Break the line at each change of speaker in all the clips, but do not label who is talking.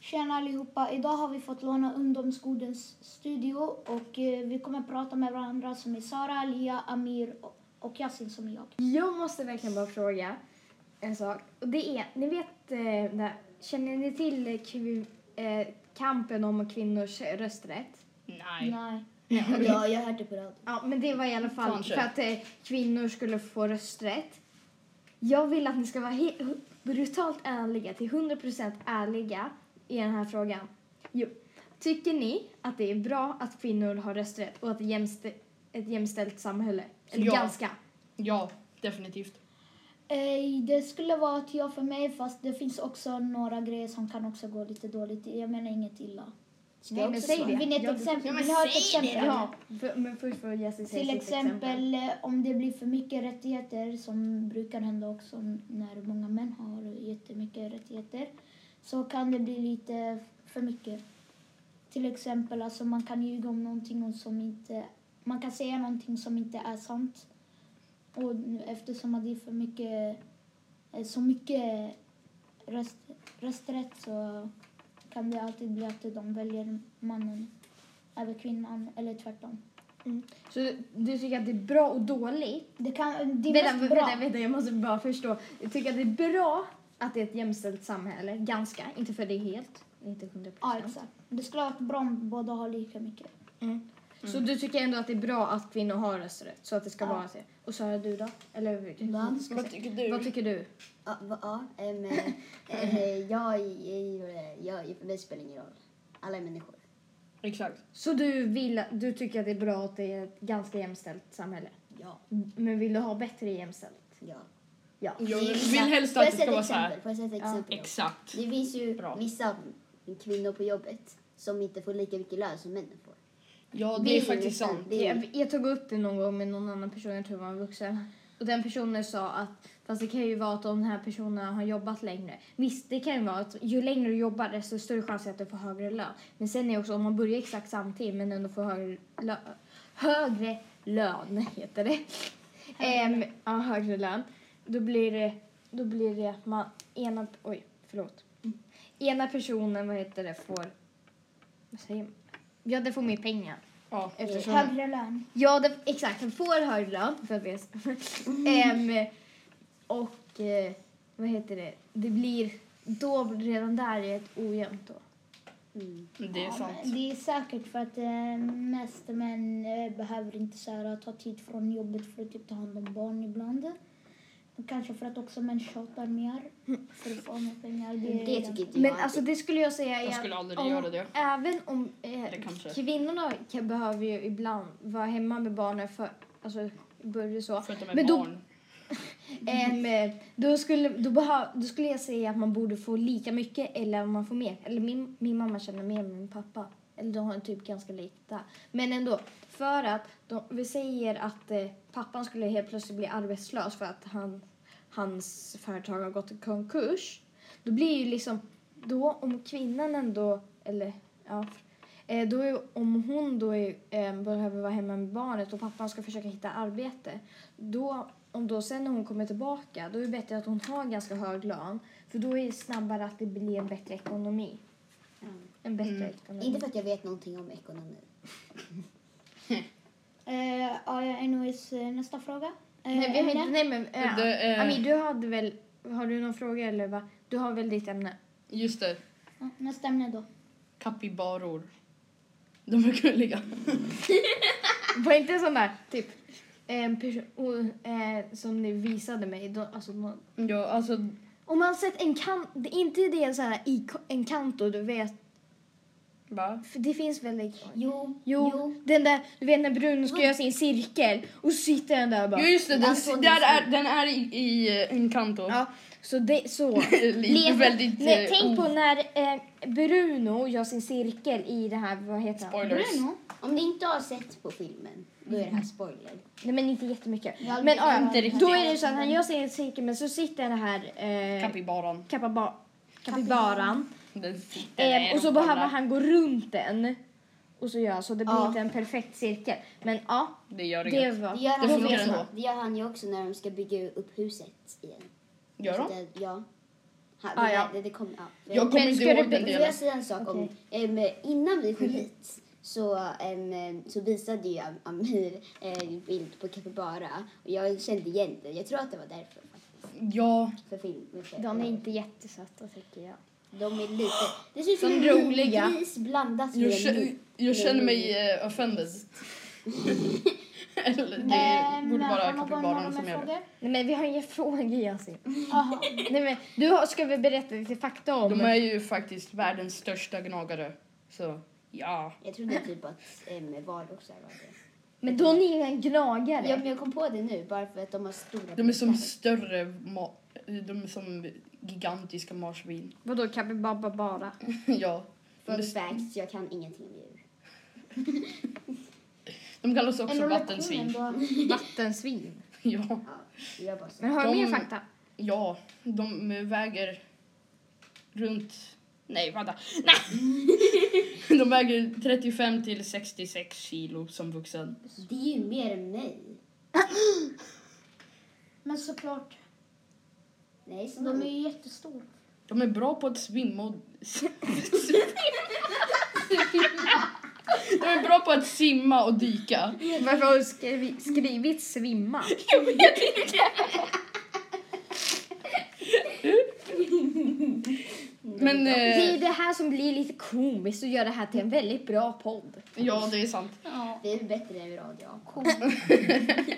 Tjena allihopa! Idag har vi fått låna ungdomsgårdens studio och eh, vi kommer prata med varandra som är Sara, Lia, Amir och- och Yasin som är jag.
Jag måste verkligen bara fråga en sak. Och det är, ni vet, eh, där, känner ni till eh, kvi, eh, kampen om kvinnors rösträtt?
Nej.
Nej.
Ja, jag hörde på radion.
Ja, men det var i alla fall
Kanske.
för att eh, kvinnor skulle få rösträtt. Jag vill att ni ska vara he- hu- brutalt ärliga, till 100% ärliga i den här frågan. Jo. Tycker ni att det är bra att kvinnor har rösträtt och att jämstä- ett jämställt samhälle? Eller
Ja.
ganska?
Ja, definitivt.
Eh, det skulle vara ett ja för mig fast det finns också några grejer som kan också gå lite dåligt. Jag menar inget illa.
Ska jag
men
också säga det?
Vill ni ett
Jag-
exempel?
Ja, men
Vill ni ha ett
säg det
exempel?
Ja, för, men först får Jessie säga
Till
sitt
exempel eh, om det blir för mycket rättigheter som brukar hända också när många män har jättemycket rättigheter så kan det bli lite för mycket. Till exempel alltså man kan ljuga om någonting och som inte man kan säga någonting som inte är sant. Och nu, eftersom att det är för mycket eh, så mycket röst, rösträtt så kan det alltid bli att de väljer mannen över kvinnan eller tvärtom.
Så du tycker att det är bra och dåligt?
Det, kan, det är
Vänta,
mest bra.
vänta, vänta, jag måste bara förstå. Du tycker att det är bra att det är ett jämställt samhälle? Ganska, inte för det är helt. Inte 100
Ja, exakt. Det skulle ha varit bra om båda har lika mycket.
Mm. Så du tycker ändå att det är bra att kvinnor har rösträtt? Så att det ska
Ja.
vara så? Och Sara, du då? Eller hur?
Va?
Vad,
Vad tycker du?
vad tycker du?
Ja, va, ja, ehm, eh, eh, jag, jag, jag, för mig spelar ingen roll. Alla är människor.
Exakt.
Så du, vill, du tycker att det är bra att det är ett ganska jämställt samhälle?
Ja.
Men vill du ha bättre jämställt?
ja.
Ja.
Jag
Det är
vill
vissa-
helst
Får
att
jag
det ska
sätta
vara så
exempel?
här.
Får jag sätta
Ja.
exempel?
Exakt.
Det finns ju
Bra.
vissa kvinnor på jobbet som inte får lika mycket lön som männen får.
Ja,
Det
det
är
är faktiskt
sant.
sant.
Det är-
Jag, jag tog upp det någon gång med någon annan person, jag tror det var en vuxen. Och den personen sa att, fast det kan ju vara att om den här personen har jobbat längre. Visst, det kan ju vara att ju längre du jobbar desto större chans att du får högre lön. Men sen är det också om man börjar exakt samtidigt men ändå får högre, lö, högre lön, heter det. Ehm, ja, högre lön. Då blir det, då blir det att man, ena, oj, förlåt. Ena personen, vad heter det, får, vad säger man? Ja, det får mer pengar.
Ja.
Eftersom...
Högre lön.
Ja, det, exakt. Han får högre lön för att det Ehm, Och eh, vad heter det? Det blir då redan där är ett ojämnt då.
Mm.
Det är
Ja,
sant.
men det är säkert för att eh, mest män eh, behöver inte så här, ta tid från jobbet för att typ, ta hand om barn ibland. Kanske för att också män tjatar mer för att få mer pengar.
Det
är den-
tycker inte
Men
jag.
alltså det skulle jag säga är
Jag
att
skulle aldrig
om,
göra det.
Även om eh,
Det kanske.
kvinnorna kan, behöver ju ibland vara hemma med barnen för alltså börjar så.
För att de är
Men då-
barn.
Ehm, eh, då, skulle, då, behö, då skulle jag säga att man borde få lika mycket eller om man får mer. Eller min, min mamma känner mer än min pappa. Eller de har typ ganska lika. Men ändå, för att de, vi säger att eh, pappan skulle helt plötsligt bli arbetslös för att han, hans företag har gått i konkurs. Då blir ju liksom, då om kvinnan ändå, eller ja, eh, då är, om hon då är, eh, behöver vara hemma med barnet och pappan ska försöka hitta arbete, då, om då sen när hon kommer tillbaka, då är det bättre att hon har ganska hög lön, för då är det snabbare att det blir en bättre ekonomi.
Mm.
En bättre
Mm.
ekonomi.
Inte för att jag vet någonting om ekonomi.
Eh, ja, ja, anyways, eh, nästa fråga. Eh,
Nej, vi har
ämne?
inte, nej men eh,
Det, eh,
Amir, du hade väl, har du någon fråga eller vad? Du har väl ditt ämne?
Just det.
Ja, nästa ämne då.
Kapybaror. De är gulliga.
Var inte en sån där typ en person och, eh, som ni visade mig. Då, alltså, man,
Ja, alltså.
om man har sett en kant, det är inte det så här i ko- en kant och du vet,
Va?
för det finns väl i-
Jo.
Jo, den där, du vet när brun ska göra sin cirkel och så sitter den där och bara.
Ja, just det. Den,
Alltså, det
där
är-
är, den är i, i eh, en kant då.
Ja, så det, så.
Lite
Leta-
väldigt...
Nej,
eh,
tänk på när eh, Bruno gör sin cirkel i det här, vad heter han?
Spoilers.
Bruno?
Om ni inte har sett på filmen, då är det här spoiler.
Nej men inte jättemycket.
Jag har
Men
aldrig-
ja,
Inte riktigt.
då är det så att han gör sin cirkel men så sitter den här eh,
Kapybaran.
kapaba- kapibaran
Den sitter
eh,
där
och så
kollar.
behöver han gå runt den och så gör så det blir
Ja.
inte en perfekt cirkel. Men ja,
Det gör
det
inget.
var...
Det gör,
Det
han ju
funkar
också,
ändå.
det gör han ju också när de ska bygga upp huset igen.
Gör
Alltså
de?
det- Ja. Ha,
Ah, ja.
det, det, det kom, ja.
Jag kommer
Men
inte
ska
ihåg
du-
den
Får
delen.
jag säga en sak om,
Okej.
em, innan vi kom hit så, em, så visade ju Am- Amir eh, en bild på Capybara och jag kände igen det. Jag tror att det var därför faktiskt.
Ja,
För film. För,
De är inte jättesöta tycker jag.
de är lite... Det ser ut som
De
en
är
rolig
roliga.
gris blandat med
jag,
en
kä-
min-
jag känner mig eh, offended. Eller det
Ehm,
borde vara
har någon
kapibaran
några
som
mer
gör det.
frågor?
Nej men vi har inga frågor Yasin.
Jaha.
Nej men du har, ska vi berätta lite fakta om...
De är ju faktiskt världens största gnagare. Så ja.
Jag trodde typ att em, valrossar var det.
Men då är ni ingen gnagare.
Ja, men jag kom på det nu bara för att de har stora...
De är som
bitar.
större, ma- de är som gigantiska marsvin.
Vadå kapibaba bara?
ja. De,
Fun
är,
facts, jag kan ingenting om djur.
de kallas
Ändå
också
lektionen
vattensvin.
då.
Vattensvin.
Ja.
Ja, jag bara så.
Men har du
De-
mer fakta?
ja, de väger runt... Nej, vänta. Nej! de väger 35 till 66 kilo som vuxen.
Det är ju mer än mig.
Men såklart,
Nej, så
de är ju jättestora.
De är bra på att svimma och... De är bra på att simma och dyka.
Varför har du skri- skrivit svimma?
Men
Det är
eh,
det här som blir lite komiskt och gör det här till en väldigt bra podd.
ja, det är sant.
Ja.
Det är bättre än radio.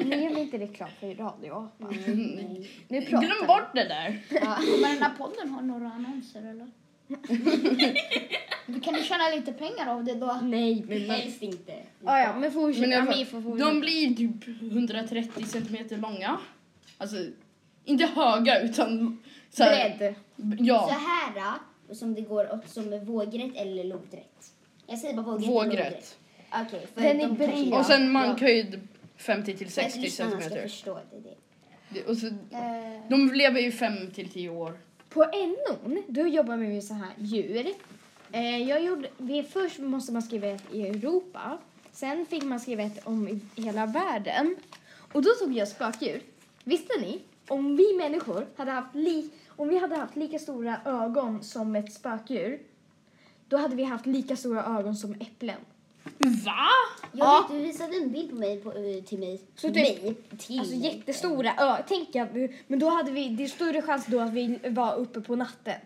Ni gör inte reklam för radio.
Nej.
Nu pratar
Glöm bort det där.
Men den här podden har några annonser eller? Du kan ju tjäna lite pengar av det då.
Nej, men...
Helst inte.
Ah, ja, men fortsätt.
Men i alla
ja,
fall,
men får fortsätta.
De blir typ 130 centimeter långa. Alltså, inte höga utan... Så här,
Bredd.
Så
Ja,
här då, som det går åt som vågrätt eller lodrätt. Jag säger bara vågrätt.
vågrätt.
lodrätt. Okej, för
Den
de
är
kanske-
bred.
Och sen
Ja,
mankhöjd 50 till
för att
60
lyssnarna ska
centimeter.
förstå det. det.
Det- Och så,
Eh,
de lever ju 5 till 10 år.
På NOn, då jobbar man med så här djur. Eh, jag gjorde, vi, först måste man skriva ett i Europa. Sen fick man skriva ett om i- hela världen. Och då tog jag spökdjur. Visste ni? Om vi människor hade haft, li, om vi hade haft lika stora ögon som ett spökdjur, då hade vi haft lika stora ögon som äpplen.
Va?
Jag
Ja.
vet, du visade en bild på mig på, eh, till mig.
Så typ-
mig till.
Alltså jättestora ögon. Tänk att vi, men då hade vi, det är större chans då att vi var uppe på natten.
Ja,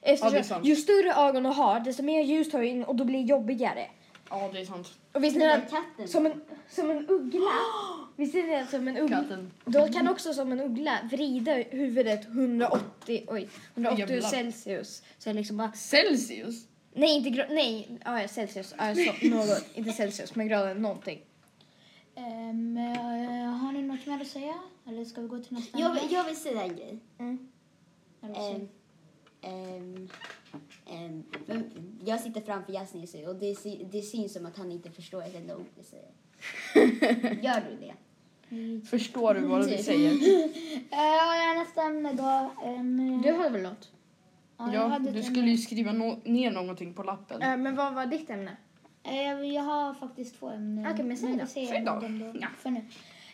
det är
Eftersom,
sant.
ju större ögon du har, desto mer ljus tar du in och då blir det jobbigare.
Ja, det är sant.
Och visst
Den
är
där
det
katten.
som en, som en uggla? Visst är det som en uggla?
Katten.
Då kan också som en uggla vrida huvudet 180, oj, 180
Jävlar.
Celsius. Så jag liksom bara,
Celsius?
nej inte grad, nej, ja, Celsius, ja, så, något, inte Celsius men graden någonting.
ehm, eh, har ni något mer att säga? Eller ska vi gå till nästa?
Jag,
ämne?
vill- jag vill säga en grej.
Mm.
Eller så-
Ehm, ehm, ehm, men jag sitter framför Yasin just nu och det, sy- det syns som att han inte förstår ett enda ord jag säger. Gör du det?
Förstår du vad du säger?
Eh, nästa ämne då. ehm,
Du har väl något?
ja, jag
Ja,
hade
du
ett
skulle ju skriva no- ner någonting på lappen.
Eh, men vad var ditt ämne?
Eh, Jag har faktiskt två ämnen.
Okej, men säg då.
vi säger
Säg då.
dem då.
Ja.
För nu.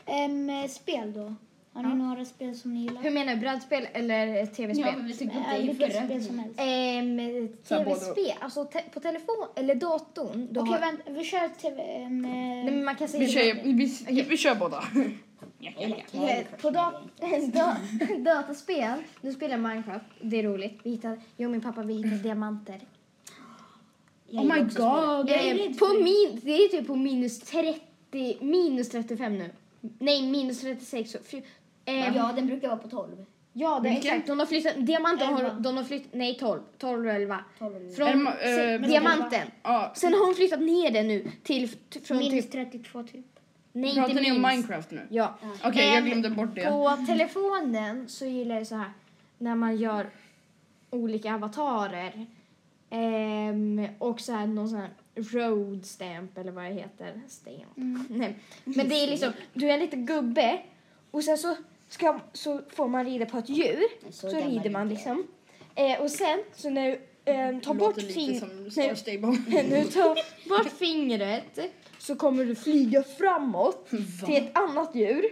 Ehm, eh, spel då. Har ni några spel som ni gillar?
Hur menar du, brädspel eller tv-spel?
vi
Eh, Vilka spel som helst.
Ehm,
Så här,
tv-spel, alltså te- på telefon eller datorn. då
Okej,
har-
vänta. Vi kör TV. ehm, eh,
Nej, men man kan säga
Vi kör, vi, vi kör båda.
Eh, På dat da dataspel, nu spelar Minecraft, det är roligt. Vi hittar, jag och min pappa vi hittar diamanter.
Oh my god.
Jag är
Eh,
rädd
på
för-
min, det är typ på minus 30, minus 35 nu. Nej, minus 36. och fy- Eh,
Ja, den brukar vara på 12.
ja, det,
Vilken?
exakt. De har flyttat, diamanten har,
Elva.
de har flyttat, nej 12, 12 och 11.
12
Från
Elma- eh,
se-
men-
diamanten.
Ja,
Sen har hon flyttat ner den nu till, t- från
minus
typ,
32 typ.
nej inte
pratar ni om
minus.
Minecraft nu?
Ja.
Okej, jag
Eh,
glömde bort det.
På telefonen så gillar jag så här när man gör olika avatarer. Ehm, och så här någon sån här road stamp eller vad det heter. Stamp.
Mm.
Nej. Men det är liksom, du är en liten gubbe och sen så, ska, så får man rida på ett djur. Så,
Så gammal
rider man
inte
liksom. Eh, och sen så när du ehm, tar bort
Låter lite
fingret.
som Star Stable.
När du tar bort fingret så kommer du flyga framåt till ett annat djur.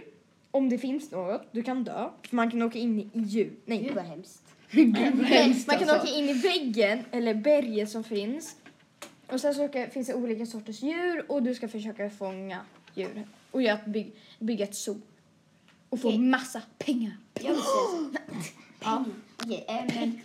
om det finns något, du kan dö. För man kan åka in i djur. Nej,
Gud vad hemskt.
Hemskt,
man kan
alltså.
åka in i väggen eller berget som finns. Och sen så åka, finns det olika sorters djur och du ska försöka fånga djur och göra ett byg, bygga ett zoo. Och få
Okej.
massa pengar.
Jag vill säga så. Okej, ehm,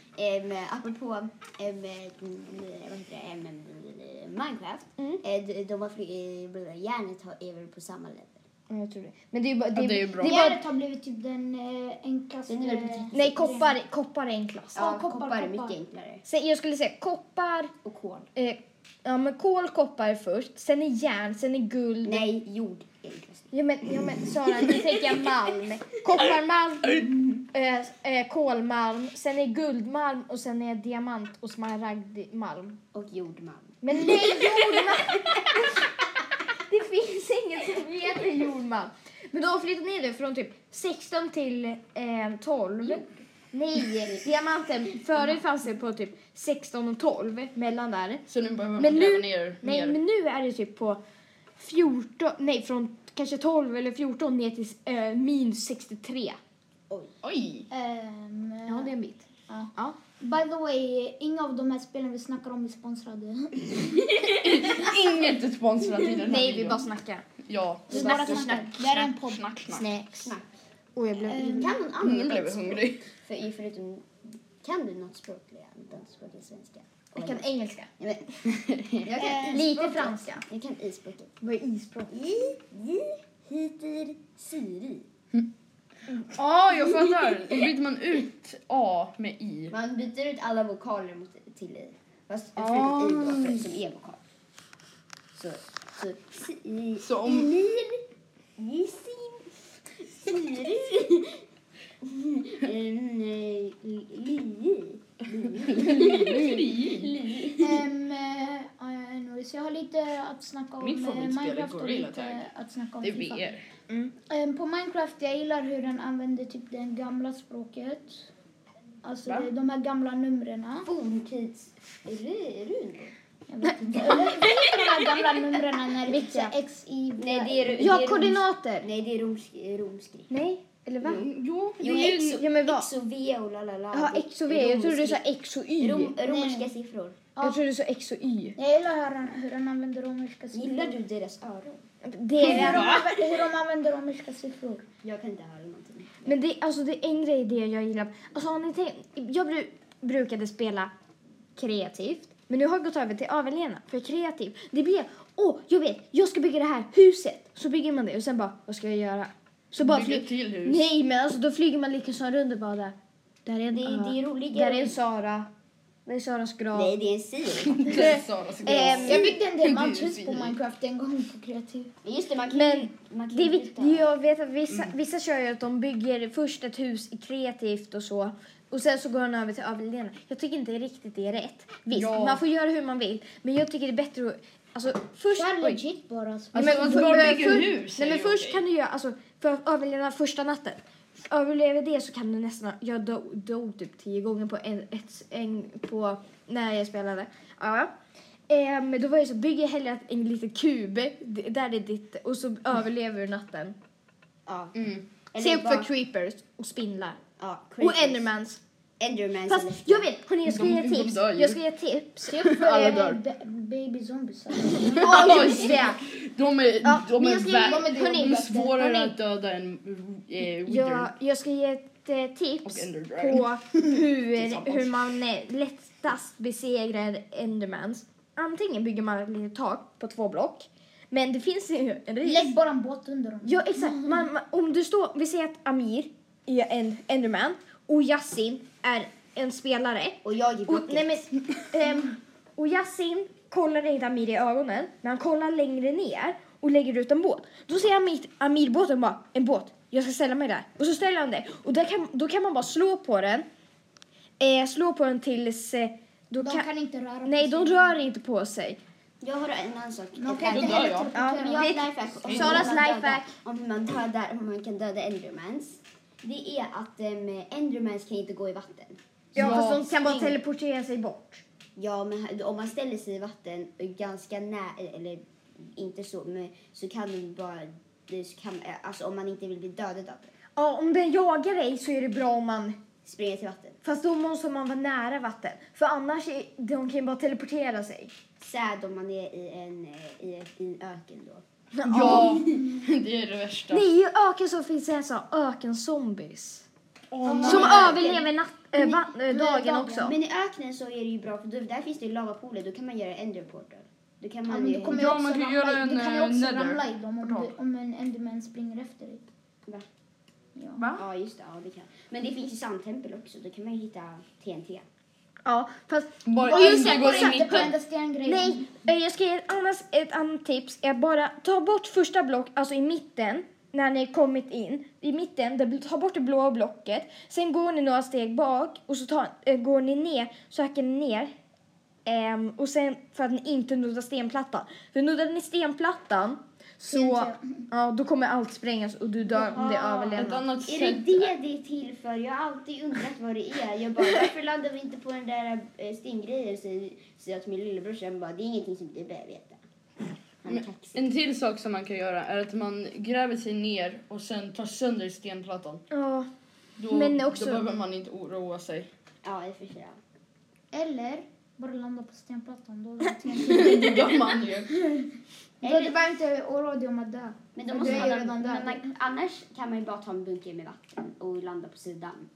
ehm, apropå ehm, eh, vad heter det, Ehm, eh, Minecraft.
Mm.
Eh, de, de har fly- eh, blablabla, järnet har- är väl på samma level.
Ja, Jag tror det. Men det är ju bara...
Ja, det är ju bra.
det är bara
Järnet har blivit typ den eh, enklaste...
Den är väl på
nej, koppar, koppar är enklast.
Ja,
Ja,
koppar,
koppar är
koppar.
mycket enklare.
Sen, jag skulle säga koppar,
Och kol.
eh, ja men kol, koppar först, sen är järn, sen är guld.
Nej, jord är enklast.
Ja men, ja, men Sara, nu tänker jag malm. Kopparmalm, eh, eh, kolmalm, sen är guldmalm och sen är diamant och smaragdmalm.
Och jordmalm.
Men nej, jordmalm! det finns inget som heter jordmalm. Men då flyttar ni det från typ 16 till eh, 12. Nej, diamanten, förut fanns det på typ 16 och 12, mellan där.
Så nu behöver man
Men
gräva
nu-
ner
Nej,
mer.
men nu är det typ på 14, nej från kanske 12 eller 14 ner till eh, minus 63.
Oj!
Ehm,
Ja, det är en bit.
Ja.
Ja.
By the way, inga av de här spelen vi snackar om är sponsrade.
Inget är sponsrat i den här
Nej, vi
videon.
bara snackar.
Ja.
Vi bara
snack,
snackar.
snack,
Det här är en podd.
Snack, snack.
Snacks.
Snack.
Och jag blev
Ehm,
Kan någon
Nu
annan
blev Mm, jag
ett språk?
hungrig.
För, i- förutom, kan du något språk, Lea? Inte annat språk än svenska?
Jag kan engelska.
Ehm,
Nej, men- jag kan
Lite
isspråket.
franska.
Eh, Jag kan isspråket.
Vad är isspråk?
I, vi, hiter, siri.
Ja, jag fattar. Då byter man ut A med I.
Man byter ut alla vokaler mot, till i. Fast
Ah.
förutom i då, för- som är vokal. Så, så, si,
Så om-
Emil, Gissin, Siri, Em, eh, Li,
Ehm, eh, eh, Norris, jag har lite att snacka om.
Mitt
eh,
favoritspel är
Minecraft och
Gorilla
lite
Tag.
Att snacka om
Det är
FIFA.
VR.
Ehm, på Minecraft, jag gillar hur den använder typ det gamla språket. Alltså
Va?
de här gamla numren.
forntids, ru- runor.
Jag vet inte. Eller vad heter de här gamla numren när det är så här X, Y, Y?
Nej, det är, ru- det
Ja,
är roms-
koordinater.
Nej, det är romsk, romskrikt.
Nej, eller va?
Jo, det
Jo,
är
X
ju...
och,
ja, men vad?
X och V och la la la.
Jaha,
Det är
X och V. Jag trodde du sa
romskrikt.
X och Y.
Rom, romerska
Nej.
siffror.
Jag trodde du sa X och Y.
Jag gillar hur han, hur han använder romerska siffror.
Gillar du deras öron?
Det är
Hur de, anvä- hur de använder romerska siffror.
Jag kan inte höra någonting.
Men det, alltså det är en grej det jag gillar. Alltså har ni tänkt, jag bru, brukade spela kreativt. Men nu har jag gått över till överlevnad. För kreativ, det blev, åh jag vet, jag ska bygga det här huset. Så bygger man det och sen bara, vad ska jag göra? Så bara
Bygga
fly-
till hus.
Nej men alltså då flyger man liksom runt och bara där. Där är en,
Det är-
ö.
det är roligare.
Där är en Sara. Där är Saras grav.
Nej, det är en sil.
Sara ska
Ehm,
Jag byggde en
Det är
del manthus
ju
på
fint.
Minecraft en gång på kreativ.
Men Just det, man kan
Men
ju- man kan
Det är,
ju
vi-
byta.
det jag vet att vissa, vissa kör ju att de bygger först ett hus i kreativt och så. Och sen så går han över till överlevnad. Jag tycker inte riktigt det är rätt. Visst,
Ja.
man får göra hur man vill. Men jag tycker det är bättre att... Alltså först...
Kör
Oj.
legit bara. så-
Nej,
Alltså, att bara
men
bygga
för-
hus är
Nej men
ju
först
okej.
kan du göra... Alltså för att överleva första natten. Överlever det så kan du nästan... Jag dog, dog typ tio gånger på en, ett, en, på, när jag spelade. Ja. Eh, men då var det så, bygger hellre en liten kub. d- Där är ditt... Och så överlever du natten.
Ja.
Mm.
Eller
Se upp
bara-
för creepers och spindlar.
Ja,
Och
creepers.
endermans.
Endermans.
Fast
eller-
jag vet, hörni jag ska
De-
ge
de
tips.
dör ju.
Jag ska ge tips.
Se upp för
Alla
eh,
dör.
ba- baby zombies.
Ja, just det.
De är,
Ja,
de
men
är,
jag ska-
vä-
de är- hörni,
de är svårare
hörni.
att döda än eh, Wither.
Jag, jag ska ge ett eh,
Och
tips
Ender Dragon.
på hur,
Tillsammans.
hur man eh, lättast besegrar en endermans. Antingen bygger man ett litet tak på två block. Men det finns ju en risk.
Lägg bara en båt under dem.
Ja, exakt. Man, man, om du står, vi säger att Amir är en enderman och Yasin är en spelare.
Och jag är
Och,
bucket.
nej men, ehm, och Yasin kollar inte Amir i ögonen, men han kollar längre ner och lägger ut en båt. Då ser Amir, Amir båten bara, en båt, jag ska ställa mig där. Och så ställer han det. Och där kan, då kan man bara slå på den. Eh, slå på den tills... Eh, då
De
kan,
kan inte röra
nej,
på
de
sig.
rör inte på sig.
Jag har en annan sak.
De
Ett
kan
Då
inte
life-
dör
heller
jag.
Ja, men jag
teleportera.
har
vet-
ett lifehack. om hur
Saras
man dödar-
lifehack.
Om hur man dödar, om man kan döda endermans. Det är att um, endermans kan inte gå i vatten.
Ja,
Ja,
fast de kan bara
spring.
teleportera sig bort.
Ja, men om man ställer sig i vatten ganska nära, eller inte så, men så kan de bara du kan, eh, alltså om man inte vill bli dödad av det.
Ja, om den jagar dig så är det bra om man...
Springa till vatten.
Fast då måste man vara nära vatten. För annars är, de kan ju bara teleportera sig.
Säd om man är i en, eh, i, i en öken då.
Ja, det är det värsta.
Nej, i öken så finns det en sån ökenzombies.
Åh,
Som
nej.
överlever natt, äh,
Men-
va, äh,
men-
dagen också.
Men i öknen så är det ju bra för då, där finns det ju lavapooler. Då kan man göra ender portal. Då kan man
men
ju...
du kommer
Ja,
ju också
man kan
ramla
göra
i-
en,
Du kan ju
eh,
också
nether
ramla i dem om,
portal.
du, om en enderman springer efter dig.
Va?
Ja.
Va?
Ja, just det. Ja, det kan. Men det finns ju sandtempel också. Då kan man ju hitta TNT.
Ja, fast
Bara
Och just
inte
det,
går
jag
in
Sätter
i
på
mitten.
enda stengrejen.
Nej, eh, jag ska ge ett annat, ett annat tips. Är bara ta bort första block, alltså i mitten, när ni kommit in. I mitten, där, ta bort det blåa blocket. Sen går ni några steg bak och så tar, eh, går ni ner, så hackar ni ner. Ehm, och sen för att ni inte nuddar stenplattan. För nuddar ni stenplattan så
Syns
ja, då kommer allt sprängas och du dör om det
Jaha.
Ett
överlevnad.
annat
Är det
sätt.
det det är till för? Jag har alltid undrat vad det är. Jag bara, varför landar vi inte på den där eh, stengrejen? Säger säger jag till min lillebrorsa. Han bara, det är ingenting som du behöver veta. Han är kaxig.
En till sak som man kan göra är att man gräver sig ner och sen tar sönder stenplattan.
Ja.
Då,
Men också-
då behöver man inte oroa sig.
Ja, i och för sig. ja.
Eller bara landa på stenplattan. Då,
Det gör man ju.
då är du bara inte orolig om att dö.
Men, då
Men
måste
du är
man,
ju redan
men
död.
man, annars kan man ju bara ta en bunker med vatten och landa på sidan.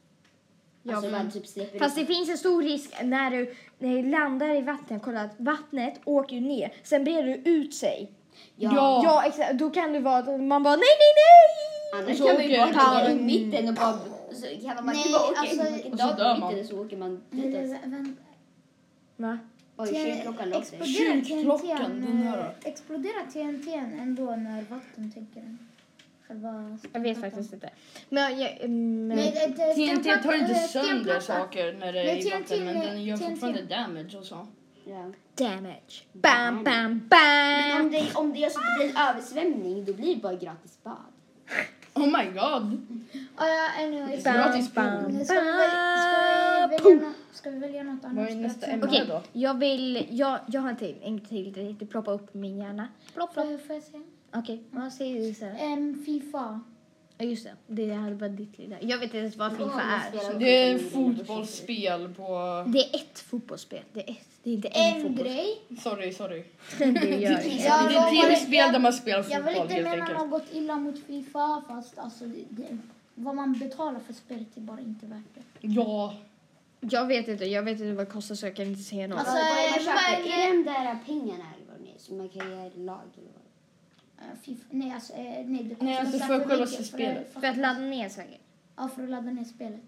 Ja,
alltså
men-
man typ släpper
Fast
ut.
det liksom- finns en stor risk när du, när du landar i vattnet. Kolla att vattnet åker ju ner. Sen breder du ut sig.
Ja.
Ja, exakt. Då kan det vara att man bara nej, nej, nej!
Annars
så
kan man ju
åker
bara ligga i
han.
mitten och bara... Så kan man
Nej,
ju bara åka
alltså-
man kan
Och så
dra
dör
i
man.
mitten och så åker man
Men,
ditåt.
eh, vänta.
Va?
Oj, kyrkklockan låter.
exploderar
Kyrkklockan,
TNT,
den här.
eh, Exploderar TNT ändå när vatten tänker den? Själva
Jag vet faktiskt inte. Men jag... mm,
Nej, det- det-
TNT tar inte
stenplatta- eh,
sönder
stenplatta.
saker när det är
Nej,
i
TNT
vatten men
med-
den gör
TNT.
fortfarande damage och så.
Ja.
Damage. Bam, bam, bam!
Om det, om det gör så att det blir översvämning då blir det bara gratis bad.
Oh my god!
Ja, ja, anyways.
Bam,
Gratis Ah,
bam,
Ska vi, väl- ska, vi
bam!
välja, nå- ska vi välja något annat?
Vad är nästa
spel?
ämne
Okej,
då?
jag vill... Jag, jag har en till. En till direkt. Det ploppar upp i min hjärna. Plopp, plopp.
Får, får jag säga?
Okej, vad säger du så här?
Em, Fifa.
Ja, just det. Det här var ditt lilla. Jag vet inte ens vad Fifa
Ja,
är.
det spelar
Det är
skit om det blir
fotbollsspel på...
Det är ett fotbollsspel. Det är, ett, det är inte en,
En
fotbollsspel.
grej.
Sorry, sorry.
Det gör jag.
Det
Ja, jag
är ett
var-
tv-spel
jag-
där man spelar
Jag vill
fotboll
inte
helt
mena
enkelt.
något illa mot Fifa fast alltså det, det, vad man betalar för spelet är bara inte värt det.
Ja,
Jag vet inte, jag vet inte vad det kostar så jag kan inte säga något.
Alltså,
Alltså,
vad är det man
eh,
köper?
men-
Är det de där pengarna eller vad det är? Så man kan göra ett lag eller vad?
Eh, FIFA, nej alltså, eh, nej, det kostar
Nej, alltså,
så
för
här
själva
mycket
spelet.
För,
för att ladda ner säkert.
ja, för att ladda ner spelet.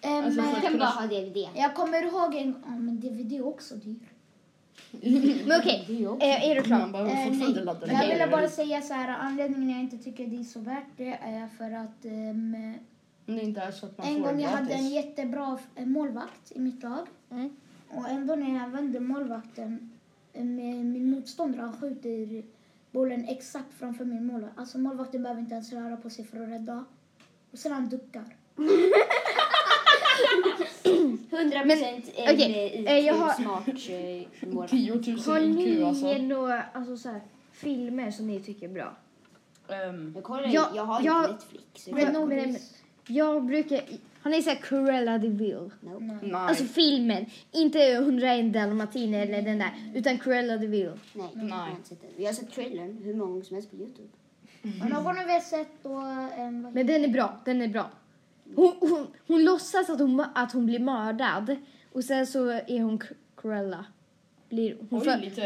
Em,
Alltså,
eh,
för-
Man kan bara ha DVD.
jag kommer ihåg en ja, men DVD är också dyr.
Men okej,
Det är ju också-
eh, är du klar?
man behöver
Eh,
fortfarande
nej.
ladda
Jag ville bara
ner.
säga så här, anledningen jag inte tycker det är så värt det är för att ehm,
Om det inte är så att man
en
får
gång
det
jag hade en
gratis.
jättebra eh, målvakt i mitt lag
Mm.
och ändå när jag vände målvakten eh, med min motståndare han skjuter bollen exakt framför min målvakt. Alltså målvakten behöver inte ens röra på sig för att rädda. Och sen han duckar.
100%
Men,
en
okej,
okay.
eh, jag har-
smart eh, målvakt.
10 000
Har
IQ
ni
alltså.
några alltså, så här, filmer som ni tycker är bra?
Ehm,
Jag kollar jag,
Jag-
jag har
jag-
inte Netflix. så jag-
Men- men- Jag brukar... Har ni sett Cruella de Vil?
Nope.
Nej.
nej.
Alltså filmen. Inte 101 dalmatiner eller den där. Utan Cruella de Vil.
Nej,
Nej.
jag har inte sett den. Jag har sett trailern hur många gånger som helst på Youtube.
Och någon av er sett då en... vad-
Men den är bra, den är bra. Hon, hon, hon låtsas att hon, att hon blir mördad och sen så är hon Cr- Cruella. Blir hon
Oj,
för-
lite...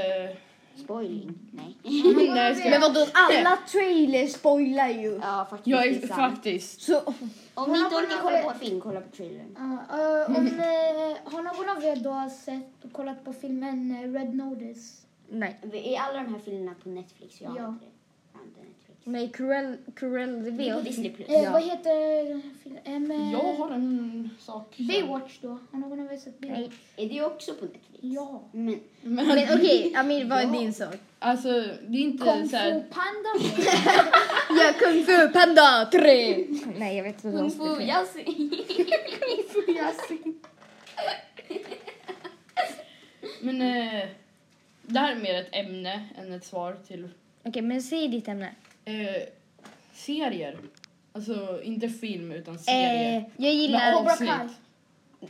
Spoiling. Mm, Nej.
Nej, jag
Men
skojar.
vadå, alla trailers spoilar ju.
Ja, faktiskt.
Jag
det är
är
sant.
faktiskt...
Så,
Om ni
Kolla
inte
på
orkar
den
kolla
här-
på film, kolla på trailern.
Ja, eh, om, eh, har någon av er då sett och kollat på filmen eh, Red Notice?
nej.
Är alla de här filmerna på Netflix? Jag har
Ja.
inte det. Jag har inte Netflix.
Nej, Cruella, Cruella de
Det är på
Vil.
Disney Plus.
Eh,
Mm. Ja.
Vad heter den här filmen? Eh, med-
Jag har en sak. sen.
Baywatch då? Har någon av er sett Baywatch?
Nej.
Är det också på Netflix?
Ja.
Men
Men,
Men okej, Amir, vad är
Ja.
din sak?
alltså, det är inte
Kung
så
Fu
här...
Panda?
Ja, Kung Fu Panda 3! Nej, jag vet inte vad
Kung
de
Fu
spelar.
Yasin.
Men eh, det här är mer ett ämne än ett svar till...
Okej, men säg ditt ämne.
Eh, serier. Alltså inte film utan serier.
Eh, jag gillar...
Med avsnitt.
Cobra Kai.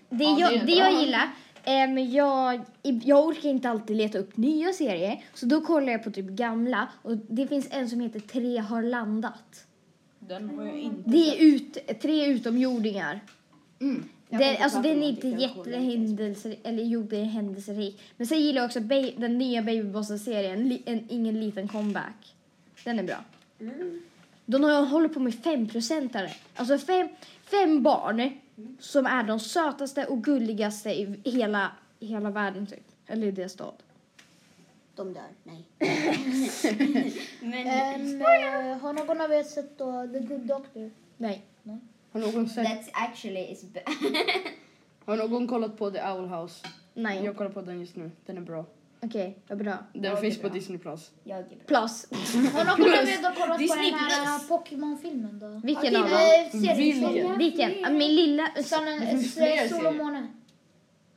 Det,
Ja, det är
jag, det jag
bra.
gillar, ehm, jag, jag orkar inte alltid leta upp nya serier så då kollar jag på typ gamla och det finns en som heter Tre har landat.
Den har jag inte.
Det är ut, tre utomjordingar.
Mm.
Jag kan
Den,
inte
alltså
prata
den
om
är inte
det, jag kollar inte ens.
jättehändelse, eller jo det är händelserik. Men sen gillar jag också ba- den nya Babybossen-serien, li, en, Ingen liten comeback. Den är bra.
Mm.
De har, håller på med femprocentare. Alltså fem, fem barn som är de sötaste och gulligaste i hela, i hela världen typ. Eller i deras stad.
De dör. Nej.
Ehm, eh, har någon av er sett då The Good Doctor?
Nej.
Har, någon sett,
That's actually is bad.
har någon kollat på The Owl House?
Nej.
Jag kollar på den just nu. Den är bra.
Okej, vad bra.
Den
Ja, det
finns
är
på
bra.
Disney Plus.
Jag är typ- bra.
Plus.
Har någon av er då kollat på
Disney
den här eh, Pokémon-filmen då?
Vilken
Eh,
av dem?
serien.
Vilken? Ah, Min lilla...
Solen-
finns fler
eh, Sol och
serier.
måne.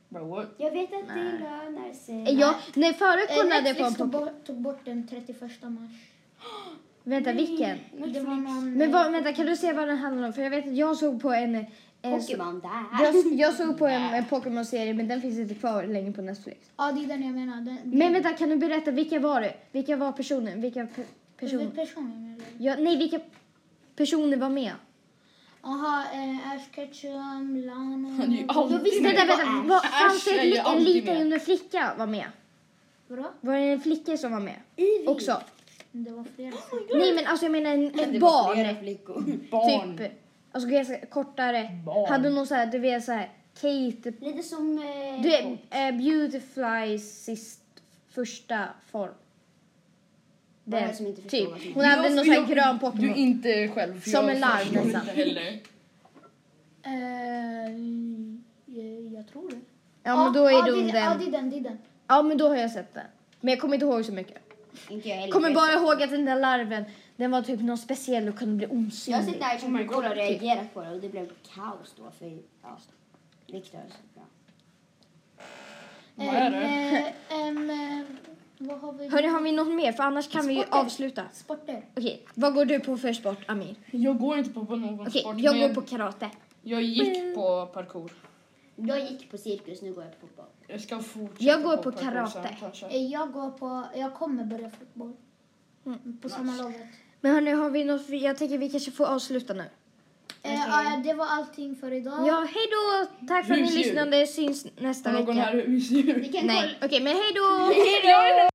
Bra, what?
Jag vet att
Nej.
det lönar sig.
Jag, nej, förut
Eh,
kollade jag på en
Netflix tog
pop-
bort, tog bort den 31 mars.
Vänta, vilken?
Det var någon...
Men vad, vänta, kan du se vad den handlar om? För jag vet att jag såg på en... eh, en
Pokémon där.
jag, jag såg på en, en Pokémon-serie men den finns inte kvar längre på Netflix.
Ja, det är den jag menar. Den,
Men vänta, kan du berätta vilka var det? Vilka var personen? Vilka pe-
person.
personer?
personen eller?
Ja, nej, vilka personer var med?
Jaha, eh, Ash Ketchum,
Han är ju
Lana...
alltid
Vänta,
med.
vänta,
Ash.
var, fanns det
Ash är
en,
ju
li- en
alltid
liten
med.
med. flicka var med?
Vadå?
Var det en flicka som var med?
Ivy.
Också?
Det var
Oh
flera.
Nej, men alltså jag menar en,
Det
ett
var
barn.
flera flickor.
Barn.
Typ, alltså ganska kortare.
Barn.
Hade någon så här, du vet så här, Kate
Lite som... Eh,
Du är eh, Beautyflies sist, första form.
Vad är
Den,
det som inte förstår
typ.
vad som-
Hon hade
Jag-
någon sån här
jag-
grön
Du är
Pokémon.
inte själv. för
Som
jag
en larm
förstår
nästan.
inte heller.
Eh, jag, jag tror det.
Ja men då är
det,
hon
Ja,
den.
det är den, det är den.
Ja men då har jag sett den. Men jag kommer inte ihåg så mycket.
Inte jag heller.
Kommer bara ihåg att den där larven, den var typ någon speciell och kunde bli
Jag har sett
osynlig.
det här som
Oh my
igår
God.
och reagerat på det och det blev kaos då för ja, alltså. Viktor. Ja.
Vad är det?
Eh, ehm, eh, vad har vi?
Hörni, har vi något mer? För annars kan vi ju
Sporter.
avsluta.
Sporter.
Okej, vad går du på för sport Amir?
Jag går inte på, på någon
Okej,
sport.
jag
men
går på karate.
jag gick på parkour.
Jag gick på cirkus, nu går jag på fotboll.
Jag ska fortsätta
Jag går på
parkour sen,
karate.
kanske.
Eh, jag går på, jag kommer börja fotboll. På samma Eh, lovet.
Men hörni, har vi något? Jag tänker vi kanske får avsluta nu.
Eh, ja, det var allting för idag.
Ja, hej då! Tack för att ni
Husdjur.
lyssnade. Syns nästa
Har någon
vecka.
här husdjur?
Vi kan
Nej, okej, men hej då!